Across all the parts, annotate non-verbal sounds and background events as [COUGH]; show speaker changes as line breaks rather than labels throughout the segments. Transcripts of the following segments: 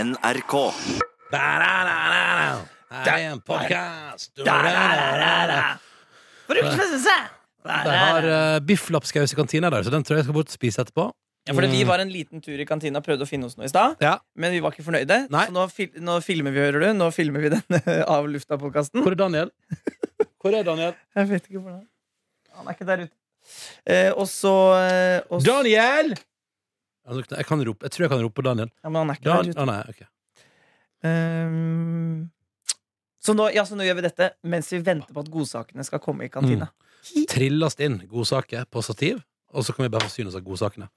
NRK.
Ba-da-da-da-da. Her er en podcast. Det har uh, bifflappskaus i kantina der, så den tror jeg jeg skal bort og spise etterpå.
Ja, fordi vi var en liten tur i kantina og prøvde å finne oss noe i stad.
mm. Ja.
Men vi var ikke fornøyde.
Nei.
Så nå, fil nå filmer vi, hører du. Nå filmer vi [LAUGHS] den av lufta-podkasten.
Mm. Hvor er Daniel? Hvor er Daniel?
Jeg vet ikke hvordan Han er ikke der ute. Eh, og så eh, og så-
Daniel! Altså, Jeg, kan rope. jeg tror jeg kan rope på Daniel.
Ja, men han er ikke
Dan
der
Å,
ute.
nei, ok.
Ehm, så, nå, ja, så nå gjør vi dette mens vi venter på at godsakene skal komme i kantina.
Mm. Trillast inn godsaker på stativ, og så kan vi bare forsyne oss av godsakene.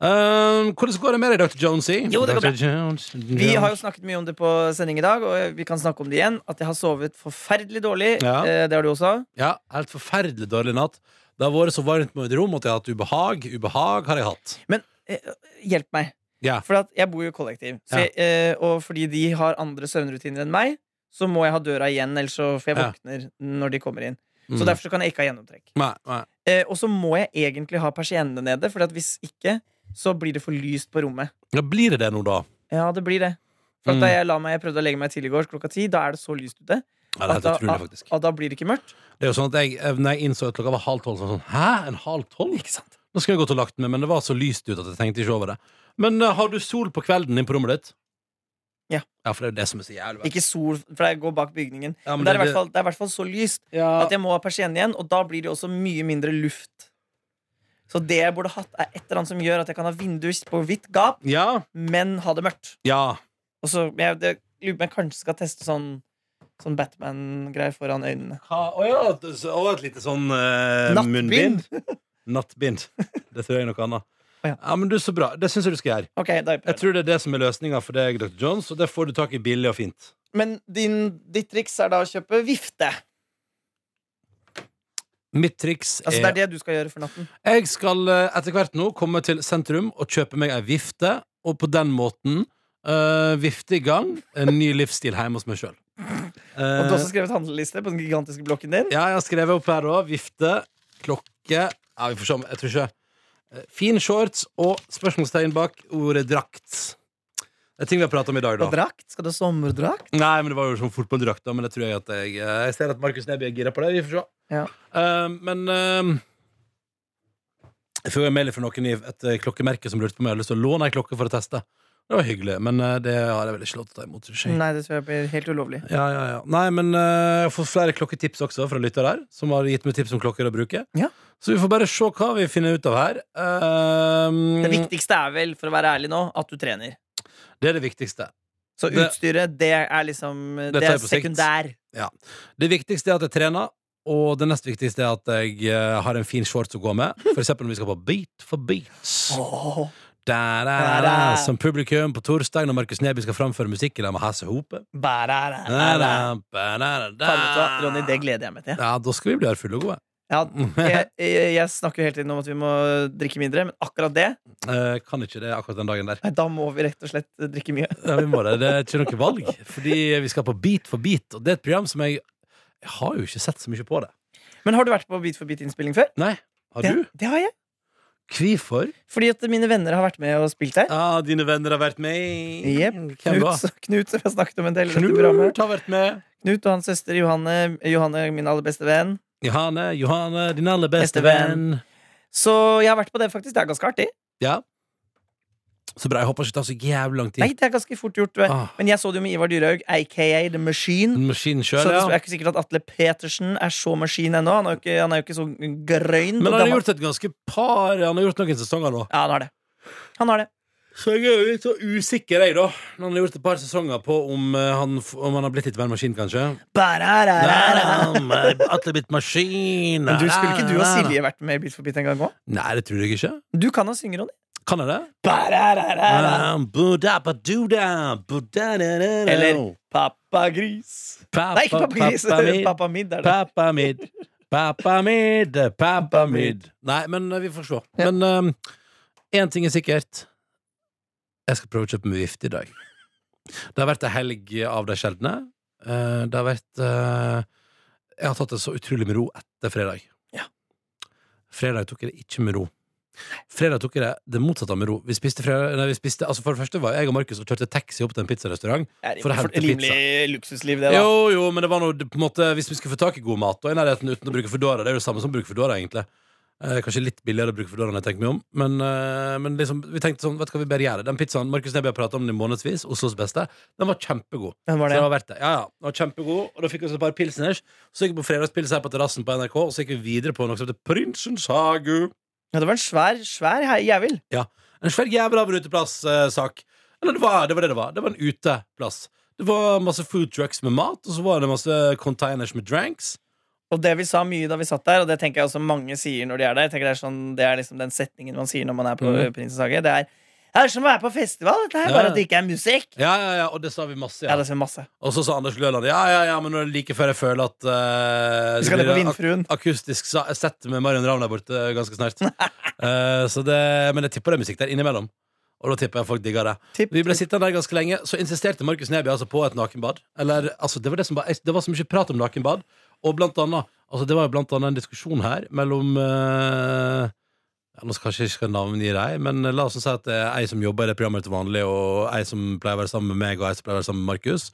Um, hvordan går det med deg, Dr. Jonesy?
Jo, det går bra.
Dr. Jones,
Vi har jo snakket mye om det på sending i dag, og vi kan snakke om det igjen. At jeg har sovet forferdelig dårlig.
Ja.
Eh, det har du også.
Ja, helt forferdelig dårlig natt. Det har vært så varmt med mitt rom at jeg har hatt ubehag. Ubehag har jeg hatt.
Men eh, hjelp meg.
Ja.
For at jeg bor jo i kollektiv. Så
Ja.
jeg, eh, og fordi de har andre søvnrutiner enn meg, så må jeg ha døra igjen, ellers så får jeg
Ja.
våkner når de kommer inn. Så
Mm.
derfor så kan jeg ikke ha gjennomtrekk.
Nei, nei.
Eh, og så må jeg egentlig ha persiennene nede, for at hvis ikke, så blir det for lyst på rommet.
Ja, blir det det nå, da?
Ja, det blir det. For
Mm.
at da jeg, la meg, jeg prøvde å legge meg tidlig i går klokka ti, da er det så lyst ute.
Ja, det er helt
at da,
utrolig, faktisk.
Og da blir det ikke mørkt.
Det er jo sånn at jeg, eh, Når jeg innså at klokka var halv tolv, så var jeg sånn Hæ? En halv tolv?
Ikke sant?
Nå skulle jeg gått og lagt meg, men det var så lyst ut at jeg tenkte ikke over det. Men eh, har du sol på kvelden inne på rommet ditt?
Ja.
Ja, for det er jo det som er så jævlig verst.
Ikke sol, for jeg går bak bygningen.
Ja,
men
men
det, er i
det-
hvert fall, det er i hvert fall så lyst at jeg må ha persiennen igjen, og da blir det også mye mindre luft. Så det jeg burde hatt, er et eller annet som gjør at jeg kan ha vinduer på hvitt gap,
Ja.
men ha det mørkt.
Ja.
Og så men jeg, det, lurer på om jeg kanskje skal teste sånn, sånn Batman-greie foran øynene.
Hva? Å ja. så- Og et lite sånn eh,
Nattbind. [LAUGHS]
munnbind. Nattbind. Det tror jeg er noe annet.
Å ja.
ja, men du, så bra. Det syns jeg du skal gjøre.
Ok, da
Jeg tror det er det som er løsninga for deg, Dr. Jones, og det får du tak i billig og fint.
Men din, ditt triks er da å kjøpe vifte.
Mitt triks er,
Altså Det er det du skal gjøre for natten.
Jeg skal eh, etter hvert nå komme til sentrum og kjøpe meg ei vifte, og på den måten eh, vifte i gang en ny livsstil hjemme hos meg sjøl. Eh.
Og du har også skrevet handleliste på den gigantiske blokken din.
ja, jeg har skrevet opp her òg. Vifte, klokke Ja, vi får se om Jeg tror ikke eh, Fin shorts og spørsmålstegn bak ordet drakt. Det er ting vi har prata om i dag, da.
Og drakt. Skal du ha sommerdrakt?
Nei, men det var jo sånn fotballdrakt, da. Men det tror jeg at jeg eh, Jeg ser at Markus Neby er gira på det. Vi får se.
Ja.
Eh, men eh, Jeg får jo en mail fra noen i et eh, klokkemerke som lurte på om jeg hadde lyst til å låne ei klokke for å teste. Det var hyggelig, men eh, det har jeg vel ikke lov til å ta imot. tror jeg.
Nei, det tror jeg blir helt ulovlig.
Ja, ja, ja. Nei, men eh, jeg får flere klokketips også fra lyttere her, som har gitt meg tips om klokker å bruke.
Ja.
Så vi får bare se hva vi finner ut av her. Eh,
Det viktigste er vel, for å være ærlig nå, at du trener.
det er det viktigste.
Så
Det-
utstyret, det er liksom Det
tar
er
jeg på sikt.
sekundær.
Det viktigste er at jeg trener, og det nest viktigste er at jeg eh, har en fin shorts å gå med. For eksempel når vi skal på Beat for beats.
Åh.
Da, da, da, da. Som publikum på torsdag når Markus Neby skal framføre musikken der med Hasse Hope.
Ba-da-da.
Da, da, ba, da, da, da.
Faen, vet du hva, Ronny, det gleder jeg meg til.
Ja, da skal vi bli her fulle og
[LAUGHS]
gode. [LAUGHS]
Ja, jeg, jeg, jeg snakker jo hele tiden om at vi må drikke mindre, men akkurat det
Eh, Kan ikke det akkurat den dagen der.
Nei, da må vi rett og slett eh, drikke mye.
Ja, vi må det. Det er ikke noe valg. Fordi vi skal på Beat for beat, og det er et program som jeg Jeg har jo ikke sett så mye på det.
Men har du vært på Beat for beat-innspilling før?
Nei. Har du?
Det, det har jeg.
Hvorfor?
Fordi at mine venner har vært med og spilt der.
Ja, dine venner har vært med.
Jepp.
Hvem da?
Knut, [LAUGHS] Knut, som jeg snakket om en del i dette programmet.
Knut har vært med.
Knut og hans søster Johanne. Johanne, min aller beste venn.
Johanne, Johanne, din aller beste
Beste venn.
venn.
Så jeg har vært på det, faktisk. Det er ganske artig.
Ja. Så bra. Jeg håper ikke det tar så jævlig lang tid.
Nei, det er ganske fort gjort. vet du.
Ah.
Men jeg så det jo med Ivar Dyrhaug, aka The Machine.
Maskinen
Mm. Så
sjøl,
det er
ja.
ikke sikkert at Atle Petersen er så maskin ennå. Han er jo ikke, han er jo ikke så grønn.
Men han
og
har
gammel.
gjort et ganske par Han har gjort noen sesonger nå.
Ja, han har det. Han har det.
Så jeg er jo litt så usikker, jeg, da. Han har gjort et par sesonger på om eh, han, f- om han har blitt litt mer maskin, kanskje.
Bararara.
Atle blitt maskin
[LAUGHS] Men du, skulle ikke du og Silje vært med i Bit for bit en gang òg?
Nei, det tror jeg ikke.
Du kan jo synge, Ronny.
Kan jeg det?
Bararara.
Um, budabaduda, budadadada.
Eller pappagris.
Pappa,
Nei, ikke pappagris.
pappa min.
Pappamidd er det.
Pappa mid, pappa mid, pappa mid. Nei, men eh, vi får se.
Ja.
Men én ting er sikkert. Jeg skal prøve å kjøpe meg vifte i dag. Det har vært ei helg av de sjeldne. Eh, Det har vært eh, Jeg har tatt det så utrolig med ro etter fredag.
Ja.
Fredag tok jeg det ikke med ro. Fredag tok jeg det det motsatte av med ro. Vi spiste fredag, nei, vi spiste, altså For det første var jeg og Markus og kjørte taxi opp til en pizzarestaurant.
Det er
For å hente
et rimelig luksusliv, det, da.
Jo, jo, men det var noe, det- på en måte, hvis vi skulle få tak i god mat og i nærheten uten å bruke Foodora, det er jo det samme som å bruke Foodora, egentlig. Eh, kanskje litt billigere å bruke Foodora enn jeg tenker meg om, men, eh, men liksom, vi tenkte sånn, vet du hva vi bare gjør? det. Den pizzaen Markus Neby har pratet om den i månedsvis, Oslos beste, den var kjempegod.
Men
Så
var det?
det var verdt det. Ja, ja. Den var kjempegod, og da fikk vi oss et par pilsners. Så gikk vi på fredagspils her på terrassen på NRK, og så gikk vi videre på noe som heter Prinsens Hagu.
Ja, det var en svær, svær hei- jævel.
En svær jævel av en uteplass-sak. eh, Eller det var, det var det det var. Det var en uteplass. Det var masse food trucks med mat, og så var det masse containers med dranks.
Og det vi sa mye da vi satt der, og det tenker jeg også mange sier når de er der Jeg tenker Det er, sånn, det er liksom den setningen man sier når man er på
Mhm.
Prinsens hage. Det er, det er som å være på festival, dette her,
Ja.
bare at det ikke er musikk.
Ja, ja, ja, og det sa vi masse,
Ja,
ja.
det ser masse.
Og så sa Anders Løland ja, ja, ja, men nå er det like før jeg føler at eh,
Vi skal ned
blir ak-
på Vindfruen.
akustisk sa- sett med Marion Ravn der borte ganske
[LAUGHS]
snart. Eh, så det, men jeg tipper det er musikk der innimellom. Og da tipper jeg folk digger det.
Tipp.
Vi ble sittende der ganske lenge, så insisterte Markus Neby altså på et nakenbad. Eller, altså, det, var det, som var, det var så mye prat om nakenbad, og blant annet altså, Det var jo blant annet en diskusjon her mellom eh, ja, Nå skal jeg kanskje ikke skal navngi deg, men la oss nå si at det er ei som jobber i det programmet til vanlig, og ei som pleier å være sammen med meg, og ei som pleier å være sammen med Markus.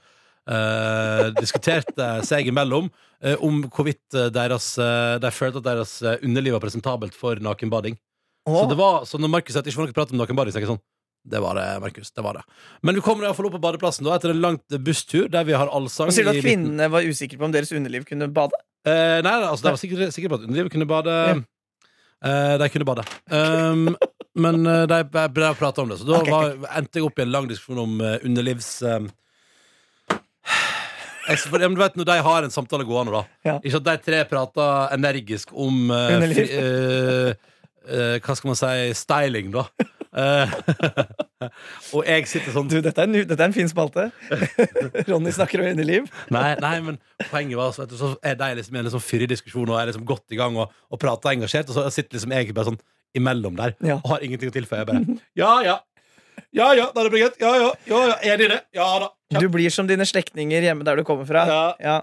eh, diskuterte seg imellom eh, om hvorvidt eh, deres, eh, de følte at deres eh, underliv var presentabelt for nakenbading.
Åh,
Så, det var, så når Markus sier at det ikke var noe prat om noen bading, så tenker jeg sånn Det var det, Markus. Det var det. Men vi kommer iallfall opp på badeplassen da, etter en lang busstur der vi har allsang.
og sier du
i
at
midten.
kvinnene var usikre på om deres underliv kunne bade?
Eh, nei, nei, altså, de var sikre, sikre på at underlivet kunne bade. Eh, de kunne bade. Um, men eh, de de ble prata om det, så da
Ok,
var, endte jeg opp i en lang diskusjon om eh, underlivs... eh, jeg- for, ja, men du vet når de har en samtale gående, da.
Ja.
Ikke at de tre prater energisk om eh,
Underliv.
fri- eh, eh, Hva skal man si styling, da. Eh, [LAUGHS] og jeg sitter sånn
Du, dette er en, dette er en fin [LAUGHS] spalte. Ronny snakker om underliv.
Nei, nei, men poenget var altså, vet du, Så er de liksom i en liksom fyrig diskusjon og er liksom godt i gang og, og prater engasjert, og så sitter liksom jeg bare sånn imellom der
Ja.
og har ingenting å tilføye. Jeg bare Ja ja. Ja ja, da er det Brigett. Ja ja. ja, ja. Enig i det. Ja da. Ja,
Du blir som dine slektninger hjemme der du kommer fra.
Ja.
Ja.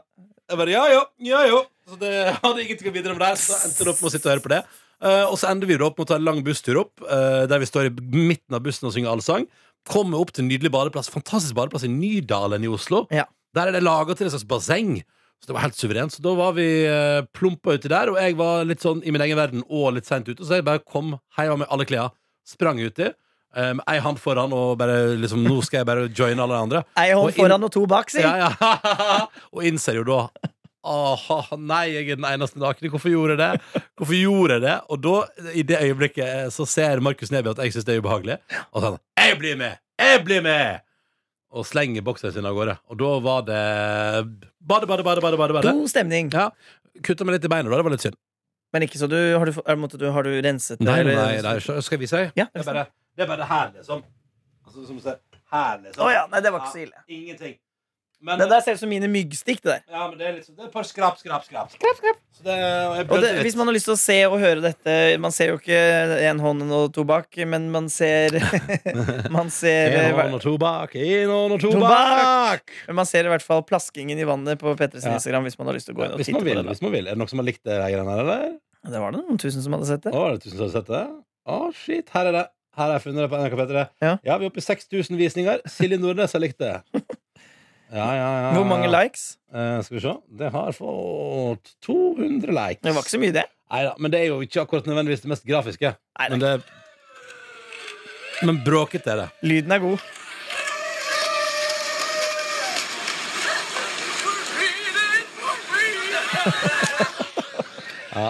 Jeg bare, ja, ja, ja, ja. Så det [LAUGHS] jeg hadde ingenting å bidra med der, så da endte det opp med å sitte og høre på det. Eh, og så ender vi da opp med å ta en lang busstur opp, eh, der vi står i midten av bussen og synger allsang. Kommer opp til en nydelig badeplass, fantastisk badeplass i Nydalen i Oslo.
Ja.
Der er det laget til et slags basseng. Så det var helt suverent. Så da var vi eh, plumpa uti der, og jeg var litt sånn i min egen verden og litt seint ute, så jeg bare kom heiva med alle klærne, sprang uti. eh, Med ei hand foran og bare liksom Nå skal jeg bare joine alle de andre.
Ei
Og
hånd
inn-
foran og to bak, si.
Ja, ja. [LAUGHS] Og innser jo da Aha, nei, jeg er den eneste nakne. Hvorfor gjorde jeg det? Hvorfor gjorde jeg det? Og da, i det øyeblikket, eh, så ser Markus Neby at jeg syns det er ubehagelig. Og så er han Jeg blir med! Jeg blir med! Og slenger bokseren sin av gårde. Og da var det Bade, bade, bade, bade. bade, bade.
God stemning.
Ja. Kutta meg litt i beina, da. Det var litt synd.
Men ikke så du Har du, er- måtte du, har du renset det?
Nei, nei, nei,
eller-
så skal jeg vise deg?
Ja,
Det er bare, det er bare her, liksom. Altså, som du ser. Her, liksom.
Å ja, nei, det var ikke så ille.
Ingenting. Men,
Det der ser ut som mine myggstikk. det der
Ja, men det er liksom Det er et par skrap, skrap, skrap. Skrap, skrap Så det, og jeg
Og det,
blødde litt.
hvis man har lyst til å se og høre dette Man ser jo ikke en hånd og tobakk, men
[LAUGHS]
man ser Man ser,
En
hver-
hånd og tobakk, en hånd og
Tobakk!
tobakk!
men man ser i hvert fall plaskingen i vannet på Petters
Ja.
Instagram hvis man har lyst til å gå inn og
Hvis
titte
man
på det.
vil. hvis man vil Er det noen som har likt det greiene her, eller?
da. Det var det noen tusen som hadde sett det.
Å, er det tusen som har sett det? Å, shit. Her er det. Her har jeg funnet det på NRK P3.
Ja.
ja, vi er oppe i 6000 visninger. Silje Nordnes har likt det.
[LAUGHS]
Ja, ja, ja.
Hvor mange likes?
Eh, skal vi se. Det har fått 200 likes.
Det var ikke så mye, det.
Nei da, men det er jo ikke akkurat nødvendigvis det mest grafiske.
Nei,
Men
det...
det Men bråkete er det.
Lyden
[LAUGHS]
er god.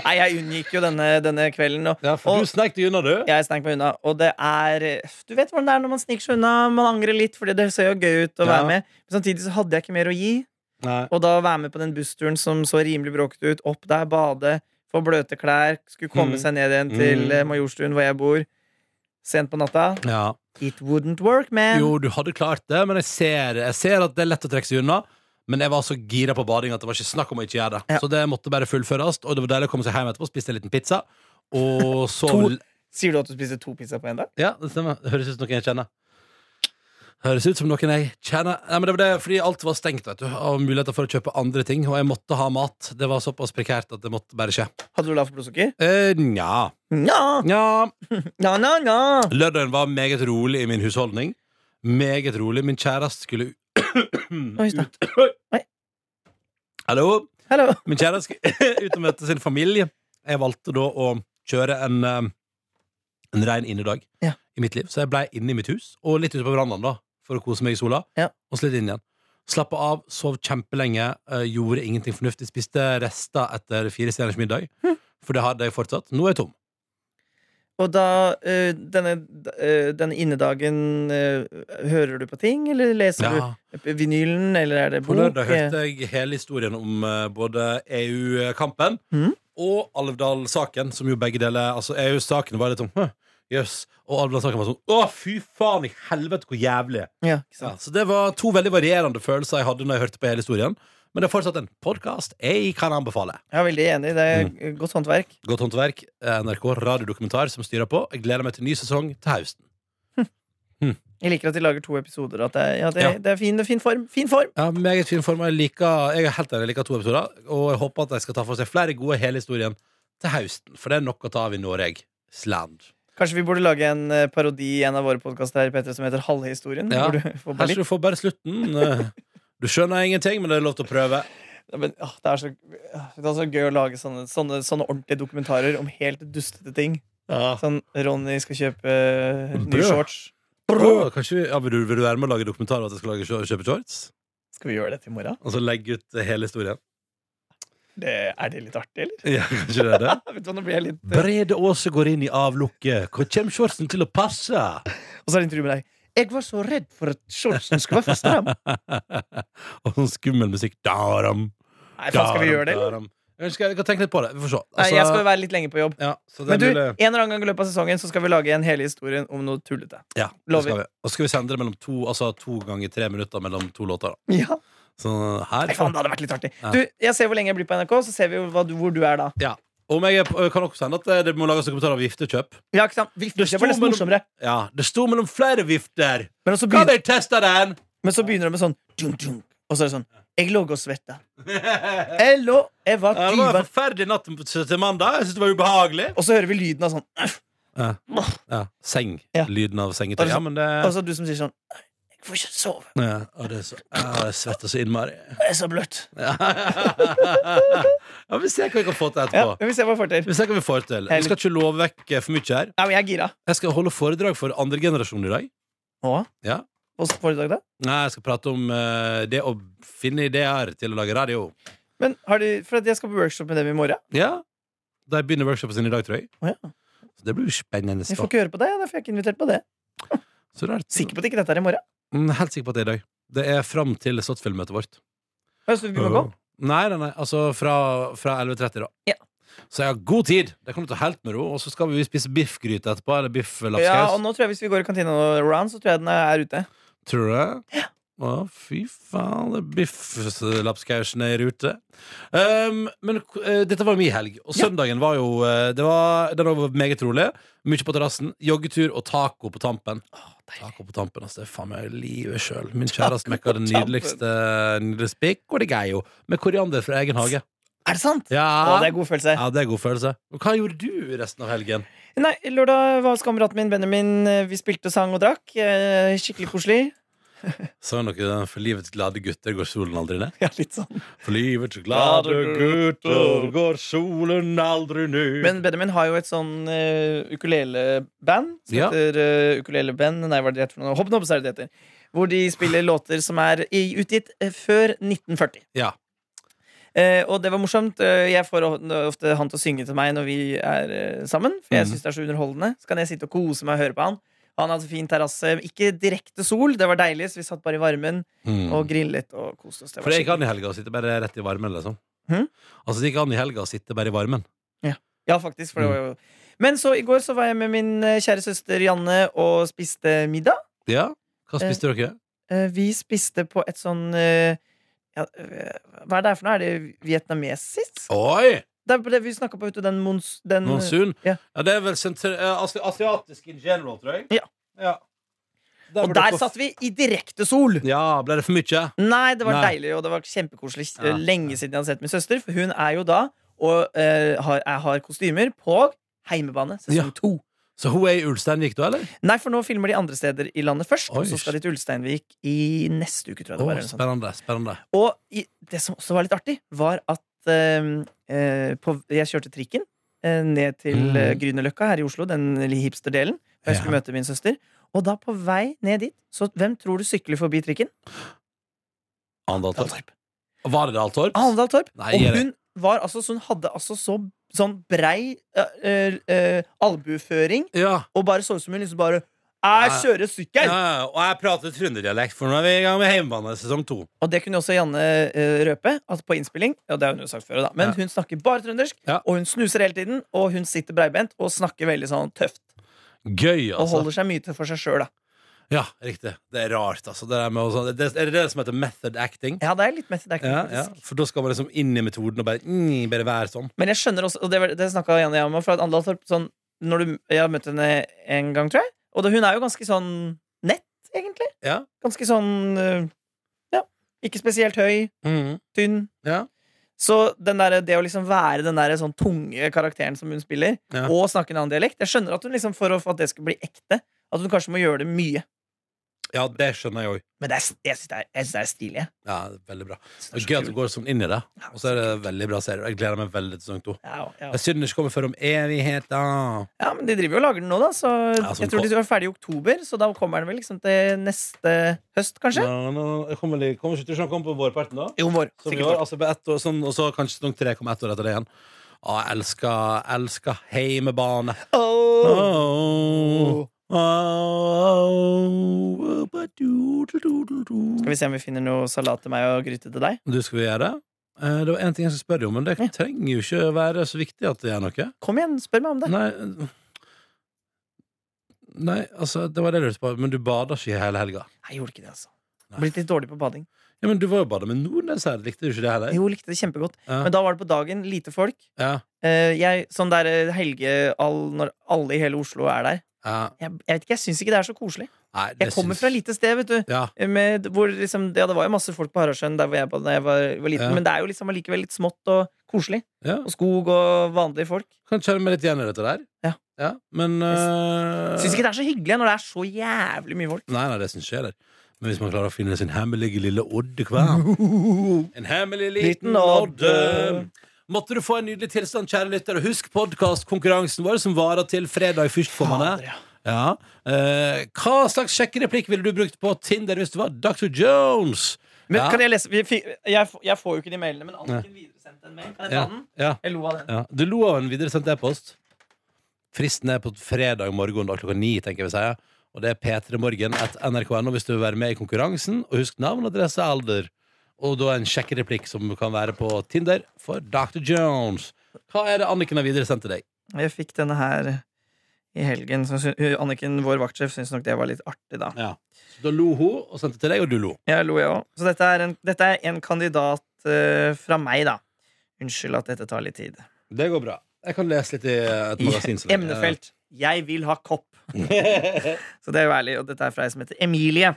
Nei, jeg unngikk jo denne, denne kvelden. Og,
Ja, for
og
du sneik deg unna, du.
jeg snek meg unna. Og det er Du vet hvordan det er når man sniker seg unna. Man angrer litt, fordi det ser jo gøy ut å
Ja.
være med. Men samtidig så hadde jeg ikke mer å gi.
Nei.
Og da være med på den bussturen som så rimelig bråkete ut. Opp der, bade, få bløte klær. Skulle komme
Mm.
seg ned igjen til
Mm.
eh, Majorstuen, hvor jeg bor. Sent på natta.
Ja.
It wouldn't work, man.
Jo, du hadde klart det, men jeg ser, jeg ser at det er lett å trekke seg unna. Men jeg var så gira på bading at det var ikke snakk om å ikke gjøre det.
Ja.
Så det måtte bare fullføres, og det var deilig å komme seg hjem etterpå, spiste en liten pizza. Og så
To- Sier du at du spiser to pizzaer på én dag?
Ja, det stemmer. Det høres ut som noe jeg kjenner. Høres ut som noen jeg kjenner Nei, men det var det, Fordi alt var stengt vet du av muligheter for å kjøpe andre ting, og jeg måtte ha mat. Det var såpass prekært at det måtte bare skje.
Hadde du lavt blodsukker?
Eh, Nja.
Nja,
Nja.
nja, nja, nja.
Lørdagen var meget rolig i min husholdning. Meget rolig. Min kjæreste skulle ut
Oi, da. Oi.
Hallo?
Hallo.
Min kjæreste skulle [LAUGHS] ut og møte sin familie. Jeg valgte da å kjøre en, eh, en rein innedag
Ja.
i mitt liv. Så jeg blei inne i mitt hus, og litt ute på verandaen da, for å kose meg i sola.
Ja.
Og så litt inn igjen. Slappa av, sov kjempelenge, eh, gjorde ingenting fornuftig. Spiste rester etter fire stjerners middag,
Hm.
for det hadde jeg fortsatt. Nå er jeg tom.
Og da eh, denne, eh, denne innedagen eh, Hører du på ting, eller leser
Ja.
du vinylen, eller er det
På
bok?
lørdag hørte jeg hele historien om eh, både EU-kampen
Mhm.
og Alvdal-saken, som jo begge deler Altså, EU-saken var litt sånn «Hø, Jøss. Og Alvdal-saken var sånn Å, fy faen i helvete, hvor jævlig.
Ja, ikke
Ja,
sant?
så det var to veldig varierende følelser jeg hadde når jeg hørte på hele historien. Men det er fortsatt en podkast jeg kan anbefale.
Jeg er veldig enig. Det er
Mm.
godt håndverk.
Godt håndverk, eh, NRK radiodokumentar som styrer på. Jeg gleder meg til ny sesong til høsten.
Jeg liker at de lager to episoder. og At det, er- ja, det,
Ja.
det er fin, det er fin form. Fin form!
Ja, meget fin form. og Jeg liker, jeg er helt enig, jeg liker to episoder, og jeg håper at jeg skal ta for seg flere gode hele historien til høsten, for det er nok å ta av i Norge. Sland.
Kanskje vi burde lage en eh, parodi i en av våre podkaster som heter Halve historien?
Ja.
Hvor du [LAUGHS] får bare
Her skal du få bare [LAUGHS] slutten. eh, Du skjønner ingenting, men det er lov til å prøve.
Ja, Men, åh, det, er så, åh, det er så gøy å lage sånne, sånne, sånne ordentlige dokumentarer om helt dustete ting. Sånn Ronny skal kjøpe eh, nye
Brød.
shorts.
Åh, kanskje, vi- ja, vil, du, vil du være med å lage dokumentar om at jeg skal lage, kjø- kjøpe shorts?
Skal vi gjøre det til i morgen?
Og så legge ut eh, hele historien?
Det, er det litt artig, eller?
[LAUGHS]
[LAUGHS]
Ja, kanskje det er det?
Vet du hva, nå blir jeg litt eh,
[LAUGHS] Brede Aase går inn i avlukket. Hvor kommer shortsen til å passe?
Og så er det intervju med deg. Jeg var så redd for at shortsen skulle være for
[LAUGHS]
stram.
[LAUGHS] Og sånn skummel musikk. Daram,
Nei, faen, skal vi gjøre det, eller?
daram. Jeg skal, jeg kan tenke litt på det. Vi får se.
Nei, jeg skal
Altså,
jo være litt lenge på jobb.
ja, så det
Men du,
er
en
mulig-
eller annen gang i løpet av sesongen Så skal vi lage en hele historien om noe tullete.
Ja, det
Lover.
skal vi. Og så skal vi sende det mellom to, altså to ganger tre minutter mellom to låter. da.
Ja,
Så her
Nei, faen, Det hadde vært litt artig.
Ja.
Du, Jeg ser hvor lenge jeg blir på NRK, så ser vi jo hva du, hvor du er da.
ja. Om jeg er- kan også sende at eh, det- det må lages dokumentarer av giftekjøp.
Ja, ikke sant? Vi, det
sto
var nesten
mellom-
morsommere.
Ja, det sto mellom flere vifter.
Men så
Kan
begynner,
jeg teste den?
men så begynner det med sånn dunk, dunk, Og så er det sånn Jeg lå og svetta. Jeg lå Jeg var
Ja, det var en
tyven.
forferdelig natt til mandag. Jeg synes det var ubehagelig.
Og så hører vi lyden av sånn «Øff»,
Ja. ja. Seng.
Ja.
Lyden av sengetøy.
Altså-
Ja, men det
Og så du som sier sånn Jeg får ikke sove.
ja, og det er så, ja, jeg svetter så
[LAUGHS]
innmari.
Det er så bløtt.
Ja. ja, Vi ser hva vi kan få til
Ja,
etterpå.
men Vi ser hva vi får til.
Vi ser hva vi får til. Vi skal ikke love vekk eh, for mye her.
Nei, men jeg er gira.
Jeg skal holde foredrag for andre generasjon i dag.
Å?
Ja.
Hva skal foredrag, da?
Nei, jeg skal prate om eh, det å finne ideer til å lage radio.
Men har de, for at jeg skal på workshop med dem i morgen.
Ja. De begynner workshopen sin i dag, tror jeg.
Å ja.
Så det blir jo spennende.
Jeg
da.
får ikke høre på deg, ja, derfor er jeg ikke invitert på det.
Så det er,
Sikker på at ikke dette er i morgen?
Mm, helt sikker på at det er i dag. Det er fram til Slottsfjellmøtet vårt.
Ja, Så vi må gå.
Nei, nei, nei. Altså fra, fra 11.30, da.
Ja.
Så jeg har god tid! Det kommer til å helt med ro. Og så skal vi spise biffgryte etterpå, eller bifflapskaus.
Ja, og nå tror jeg Hvis vi går i kantina og round, så tror jeg den er ute.
Tror du det? Å, fy faen, det er bifflapskausen er i rute. Um, men eh, dette var jo min helg, og
Ja.
søndagen var jo eh, det var, Den var meget rolig. Mye på terrassen. Joggetur og taco på tampen. taco på tampen, altså, Det er faen meg livet sjøl. Min kjæreste mekka det
på tampen.
nydeligste, nydeligste pikk, og det geier jo. Med koriander fra egen hage.
Er det sant?
Ja,
Å, det er god følelse.
ja, det er god følelse. Og hva gjorde du resten av helgen?
Nei, lørdag var hos kameraten min Benjamin. eh, Vi spilte, sang og drakk. Eh, Skikkelig koselig.
Sang dere For livets glade gutter går solen aldri ned?
[LAUGHS] Ja, litt sånn.
For livets glade gutter går solen aldri ned.
Men Benjamin har jo et sånn eh, ukuleleband som
Ja.
heter eh, Ukuleleband Nei, hva er det det heter for noe? Hobnobs er det det heter. Hvor de spiller låter som er i, utgitt eh, før 1940.
Ja.
Eh, og det var morsomt. Eh, Jeg får of- ofte han til å synge til meg når vi er eh, sammen. For jeg
Mhm.
synes det er så underholdende. Så kan jeg sitte og kose meg og høre på han. Han hadde fin terrasse. Ikke direkte sol, det var deilig, så vi satt bare i varmen
Mm.
og grillet og koste oss. Det
For
var
det gikk
skikkelig-
an i helga å sitte bare rett i varmen, liksom.
Hm?
Altså det gikk an i helga å sitte bare i varmen.
Ja, faktisk. For det var
Mhm.
jo Men så i går så var jeg med min eh, kjære søster Janne og spiste middag.
Ja. Hva spiste dere?
Eh, Vi spiste på et sånn eh, ja, eh, Hva er det her for noe? Er det vietnamesisk?
Oi!
Det er på det vi snakka på, vet du. Den mons... Den,
Monsun?
Mm. Ja.
Ja, det er vel sentra- eh, asi- asiatisk in general, tror jeg.
Ja.
Der
Og
var
der
dere-
satt vi i direkte sol!
Ja, ble det for mye?
Nei, det var
Nei.
deilig, og det var kjempekoselig.
Ja.
Lenge siden jeg hadde sett min søster. For hun er jo da, og eh, har, jeg har kostymer, på heimebane
Ja.
sesong to.
Så hun er i Ulsteinvik, da, eller?
Nei, for nå filmer de andre steder i landet først, og
Oi.
så skal de til Ulsteinvik i neste uke, tror jeg. det
Å,
var, sånn- eller noe sånt.
spennende. spennende
Og i, det som også var litt artig, var at ehm, eh, på, jeg kjørte trikken eh, ned til
Mhm.
eh, Grünerløkka her i Oslo, den lille hipsterdelen. Og jeg skulle
Ja.
møte min søster. Og da på vei ned dit, så hvem tror du sykler forbi trikken?
Arendal Torp.
Torp.
Var det Dahl Torp?
Arendal Torp.
Nei,
og
er det-
hun var altså, så hun hadde altså så sånn brei eh, eh, eh, albueføring,
Ja.
og bare så ut som hun liksom bare Jeg kjører
Ja,
sykkel!
ja, og jeg prater trønderdialekt, for nå er vi i gang med Heimebane sesong to.
Og det kunne jo også Janne eh, røpe at på innspilling. Ja, det har hun jo sagt før, da Men
Ja.
hun snakker bare trøndersk,
Ja.
og hun snuser hele tiden. Og hun sitter breibent og snakker veldig sånn tøft.
Gøy,
Og
altså.
holder seg mye til for seg sjøl, da.
Ja, riktig. Det er rart, altså. Det der med, å sånn- det, er det det som heter method acting?
Ja, det er litt method acting,
Ja, ja.
faktisk.
For da skal man liksom inn i metoden og bare, mm, bare være sånn.
Men jeg skjønner også, og det, var- det snakka Janne og jeg om, for at Andal Torp sånn når du, Jeg har møtt henne en gang, tror jeg. Og da, hun er jo ganske sånn nett, egentlig.
Ja.
Ganske sånn eh, Ja. Ikke spesielt høy, tynn.
Mm. Ja.
Så den der, det å liksom være den der sånn tunge karakteren som hun spiller,
Ja.
og snakke en annen dialekt Jeg skjønner at hun liksom, for å- for at det skal bli ekte, at hun kanskje må gjøre det mye.
Ja, det skjønner jeg òg.
Men det er, jeg syns det er, jeg synes det er stilig. jeg.
Ja, det er veldig bra. Det er
Jeg synes det er så
gøy at du
kult.
går sånn inn i det.
Ja,
Og så er det en veldig bra serie. og Jeg gleder meg veldig til sesong to.
Ja, ja.
Jeg synd det ikke kommer før om evighet, da.
ja, men de driver jo og lager den nå, da. Så
Ja, sånn
jeg tror de er ferdig i oktober, så da kommer den vel liksom til neste høst, kanskje?
Nå, nå, jeg kommer, vel- kommer ikke til å komme på vårparten, da?
Jo, vår.
Som i
sikkert
år,
vår.
altså på ett år, sånn, og så kanskje sesong tre kommer ett år etter det igjen. Ja, jeg elsker, elsker heimebane.
Åh.
Oh. Oh. Oh.
Skal vi se om vi finner noe salat til meg og gryte til deg?
Du, skal vi gjøre det? Eh, Det var én ting jeg skulle spørre deg om, men det
Ja.
trenger jo ikke være så viktig at det er noe.
Kom igjen, spør meg om det.
Nei, nei altså, det var det jeg lurte på, men du bada ikke hele helga?
Nei, jeg gjorde ikke det, altså.
Nei.
Blitt litt dårlig på bading.
Ja, men du var jo bada med Nordnes her, likte du ikke det heller?
Jo, likte det kjempegodt.
Ja.
Men da var det på dagen, lite folk.
Ja.
Eh, jeg, sånn der eh, helge all, Når alle i hele Oslo er der
Ja.
Jeg, jeg vet ikke, jeg syns ikke det er så koselig.
Nei, det
Jeg kommer
syns-
fra et lite sted, vet du. Eh,
Ja.
Med, hvor liksom, ja, det var jo masse folk på Haraldsjøen der hvor jeg, var- da jeg var, var liten,
Ja.
men det er jo liksom allikevel litt smått og koselig.
ja.
Og skog og vanlige folk.
Kan kjenne meg litt igjen i dette der.
Ja.
men eh,
Syns ikke det er så hyggelig når det er så jævlig mye folk.
Nei, nei, det syns ikke jeg heller. Men hvis man klarer å finne sin hemmelige lille oddekvam En hemmelig liten
Mm. Liten
odde.
odde.
Måtte du få en nydelig tilstand, kjære lytter. Og husk podkastkonkurransen vår, som varer til fredag
Fader,
førstkommende.
ja.
Ja. Eh, hva slags sjekkereplikk ville du brukt på Tinder hvis du var Dr. Jones?
Men
Ja.
kan jeg lese vi fikk- jeg, f- jeg får jo ikke de mailene, men Anniken videresendte en mail. Kan jeg ta
Ja,
den?
ja,
Jeg lo av den.
ja. Du lo av en videresendt e-post. Fristen er på fredag morgen da klokka ni, tenker jeg vi sier. Og det er p3morgen.nrk.no hvis du vil være med i konkurransen. Og husk navn, adresse, alder. Og da en sjekkereplikk som kan være på Tinder for Dr. Jones. Hva er det Anniken har videresendt til deg?
Jeg fikk denne her i helgen. Så sy- hun- Anniken, vår vaktsjef, syntes nok det var litt artig, da.
Ja. Så da lo hun og sendte til deg, og du lo.
Jeg lo, jeg òg. Så dette er en, dette er en kandidat eh, fra meg, da. Unnskyld at dette tar litt tid.
Det går bra. Jeg kan lese litt i et
I
magasin. så lenge.
emnefelt. Jeg vil ha kopp. [LAUGHS] Så det er jo ærlig, og dette er fra ei som heter Emilie.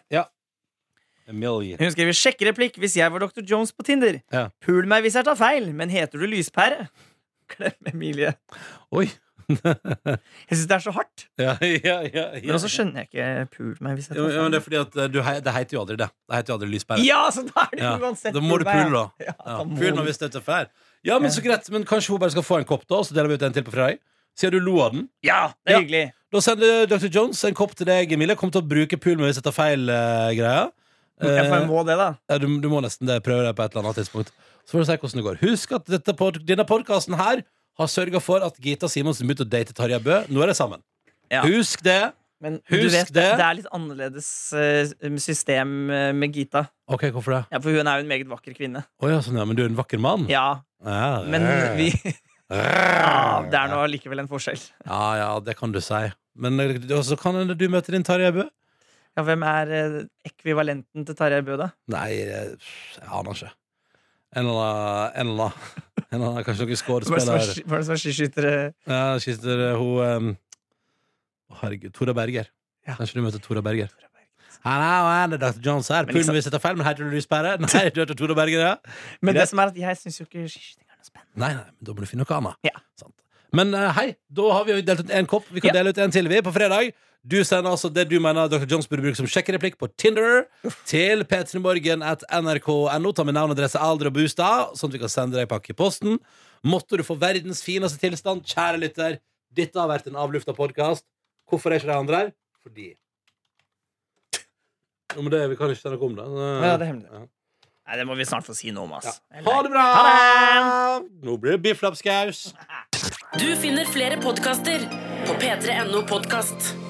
Emilie.
Hun skriver 'sjekk replikk hvis jeg var Dr. Jones på Tinder'.
Ja.
'Pul meg hvis jeg tar feil, men heter du Lyspære?' [LAUGHS] Klem Emilie.
Oi.
Jeg syns det er så hardt.
Ja, ja, ja, ja.
Men altså, også skjønner jeg ikke 'pul meg hvis jeg
Jo,
tar
jo, men det
feil'.
er fordi at eh, du, hei- det heter jo aldri det. Det heter jo aldri lyspære.
Ja, så da er det
Ja,
uansett
Da må du pule, da.
Ja,
Ja,
da må
pul
du.
meg hvis det er feil. Ja, men så greit. Men kanskje hun bare skal få en kopp, da, og så deler vi ut en til på fredag? Siden du lo av den.
ja, det er
Ja.
hyggelig.
Da sender Dr. Jones en kopp til deg, Emilie. Kom til å bruke pul meg hvis jeg tar feil eh, greia.
Jeg får
Eh,
må det, da.
ja, du, du må nesten det, prøve det på et eller annet tidspunkt. Så får du se hvordan det går. Husk at dette pod denne podkasten her har sørga for at Gita Simonsen begynte å date Tarjei Bø. Nå er de sammen.
Ja.
Husk det.
Men du
Husk
vet, det.
det.
det er litt annerledes eh, system eh, med Gita.
OK, hvorfor det?
Ja, For hun er jo en meget vakker kvinne.
Å ja, sånn, ja, men du er en vakker mann?
Ja,
Ja,
men vi
Eh.
[LAUGHS] ja, Det er nå likevel en forskjell.
Ja, ja, det kan du si. Men eh, og så kan hende du møter din Tarjei Bø.
Ja, Hvem er eh, ekvivalenten til Tarjei Bø, da?
Nei, jeg, jeg aner ikke. En eller annen, en eller annen. En eller annen kanskje noen
Hva er det som
skuespiller
er ski- hva er det som er skiskyttere?
ja, Skister hun em, Å, Herregud, Tora Berger.
Ja.
Kanskje du møter Tora Berger. Hallo, er det Dr. Jones her?
Men
Pulen
liksom-
vil sitte feil, men heter du Lyspære? [LAUGHS] Nei, du heter Tore Berger, ja.
Men
Greit.
det som er at jeg syns jo ikke skiskyting er noe spennende.
Nei, nei, men da må du finne noe annet.
Ja.
Sant. Men eh, hei, da har vi jo delt ut en kopp. Vi kan
Ja.
dele ut en til vi på fredag. Du sender altså det du mener Dr. Jones burde bruke som sjekkereplikk på Tinder til p3morgen at nrk.no. Ta med navn, adresse, alder og bostad, sånn at vi kan sende deg en pakke i posten. Måtte du få verdens fineste tilstand, kjære lytter. Dette har vært en avlufta podkast. Hvorfor er ikke de andre her? Fordi. Jo, men det, vi kan ikke si noe om det.
Ja, det er hemmelig.
Ja.
Nei, det må vi snart få si noe om,
Ja.
ass.
Ha det bra!
Ha
Nå blir det bifflapskaus.
Du finner flere podkaster på p3.no podkast.